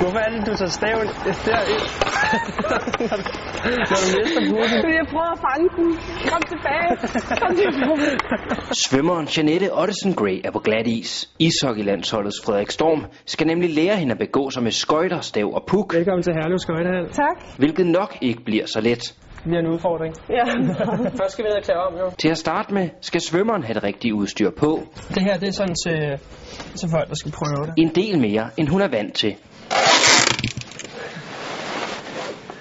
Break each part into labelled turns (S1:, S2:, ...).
S1: Hvorfor er det, du tager staven derind, når du mister bussen?
S2: Fordi jeg prøver at fange den. Kom tilbage. Kom tilbage.
S3: Svømmeren Janette Ottesen Gray er på glat is. Ishockeylandsholdets Frederik Storm skal nemlig lære hende at begå sig med skøjter, stav og puk,
S1: Velkommen til Herlev Skøjtehal.
S2: Tak.
S3: hvilket nok ikke bliver så let.
S1: Det bliver en udfordring.
S2: Ja.
S1: Først skal vi ned og klæde om, jo.
S3: Til at starte med skal svømmeren have det rigtige udstyr på.
S1: Det her, det er sådan til, til folk, der skal prøve det.
S3: En del mere, end hun er vant til.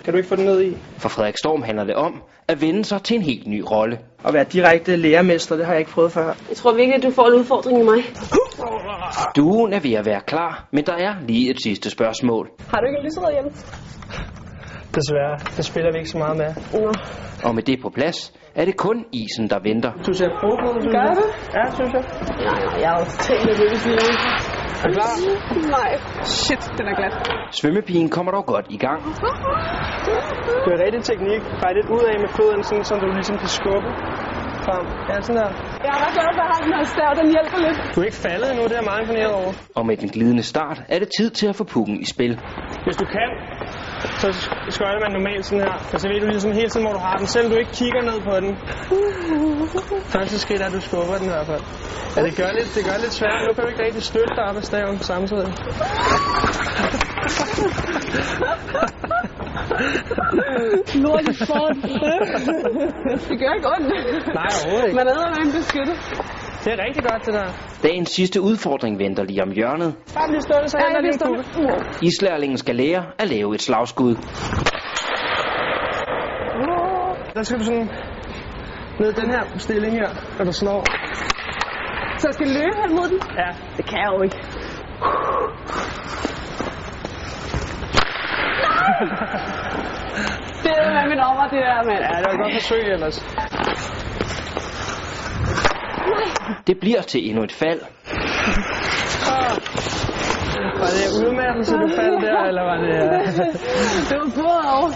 S1: Kan du ikke få den ned i?
S3: For Frederik Storm handler det om at vende sig til en helt ny rolle.
S1: At være direkte lærermester, det har jeg ikke prøvet før.
S2: Jeg tror virkelig, at du får en udfordring i mig.
S3: Duen er ved at være klar, men der er lige et sidste spørgsmål.
S2: Har du ikke en lyserød hjemme?
S1: Desværre, det spiller vi ikke så meget med.
S2: Nå.
S3: Og med det på plads, er det kun isen, der venter.
S1: Du ser brugt ud, synes
S2: Gør
S1: jeg.
S2: du?
S1: Ja, synes jeg.
S2: Nej, nej, jeg har også tænkt, at det vil sige noget.
S1: Er du klar?
S2: Nej. Shit, den er glat.
S3: Svømmepigen kommer dog godt i gang.
S1: Det er rigtig teknik. Bare lidt ud af med foden, sådan, så du ligesom kan skubbe frem. Ja, sådan der.
S2: Jeg er ret glad for, at jeg har den her stav. Den hjælper lidt.
S1: Du er ikke faldet endnu, det er jeg meget imponeret over.
S3: Og med den glidende start er det tid til at få pukken i spil.
S1: Hvis du kan, så skøjter man normalt sådan her. Og så ved du ligesom hele tiden, hvor du har den, selvom du ikke kigger ned på den. Første skridt er, at du skubber den i hvert fald. Ja, det gør lidt, det gør lidt svært. Nu kan du ikke rigtig støtte dig op ad staven samtidig.
S2: Lort i sport. det gør ikke ondt.
S1: Nej, overhovedet ikke.
S2: Man er med en beskyttet.
S1: Det er rigtig godt, det der.
S3: Dagens sidste udfordring venter lige om hjørnet.
S1: Bare bliv stående, så
S2: Ja,
S1: henter
S2: jeg
S1: lige en
S2: vidste
S1: kugle.
S2: det.
S3: Islærlingen skal lære at lave et slagskud.
S1: Der skal du sådan ned i den her stilling her, når du slår.
S2: Så jeg skal løbe hen mod den?
S1: Ja,
S2: Det kan jeg jo ikke. Det er min over, det der, mand.
S1: ja det var et godt forsøg ellers.
S3: Det bliver til endnu et fald.
S1: Var det udmattelse, du faldt der, eller var det... øh,
S2: Det var både og.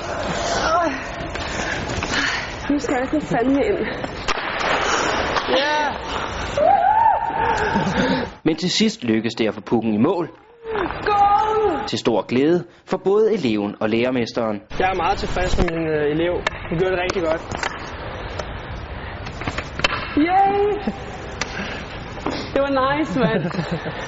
S2: Øj. Nu skal jeg sådan fandme ind.
S3: Men til sidst lykkes det at få pukken i mål.
S2: Go!
S3: Til stor glæde for både eleven og lærermesteren.
S1: Jeg er meget tilfreds med min øh, elev. Hun gjorde det rigtig godt.
S2: Yay! Det var nice, mand.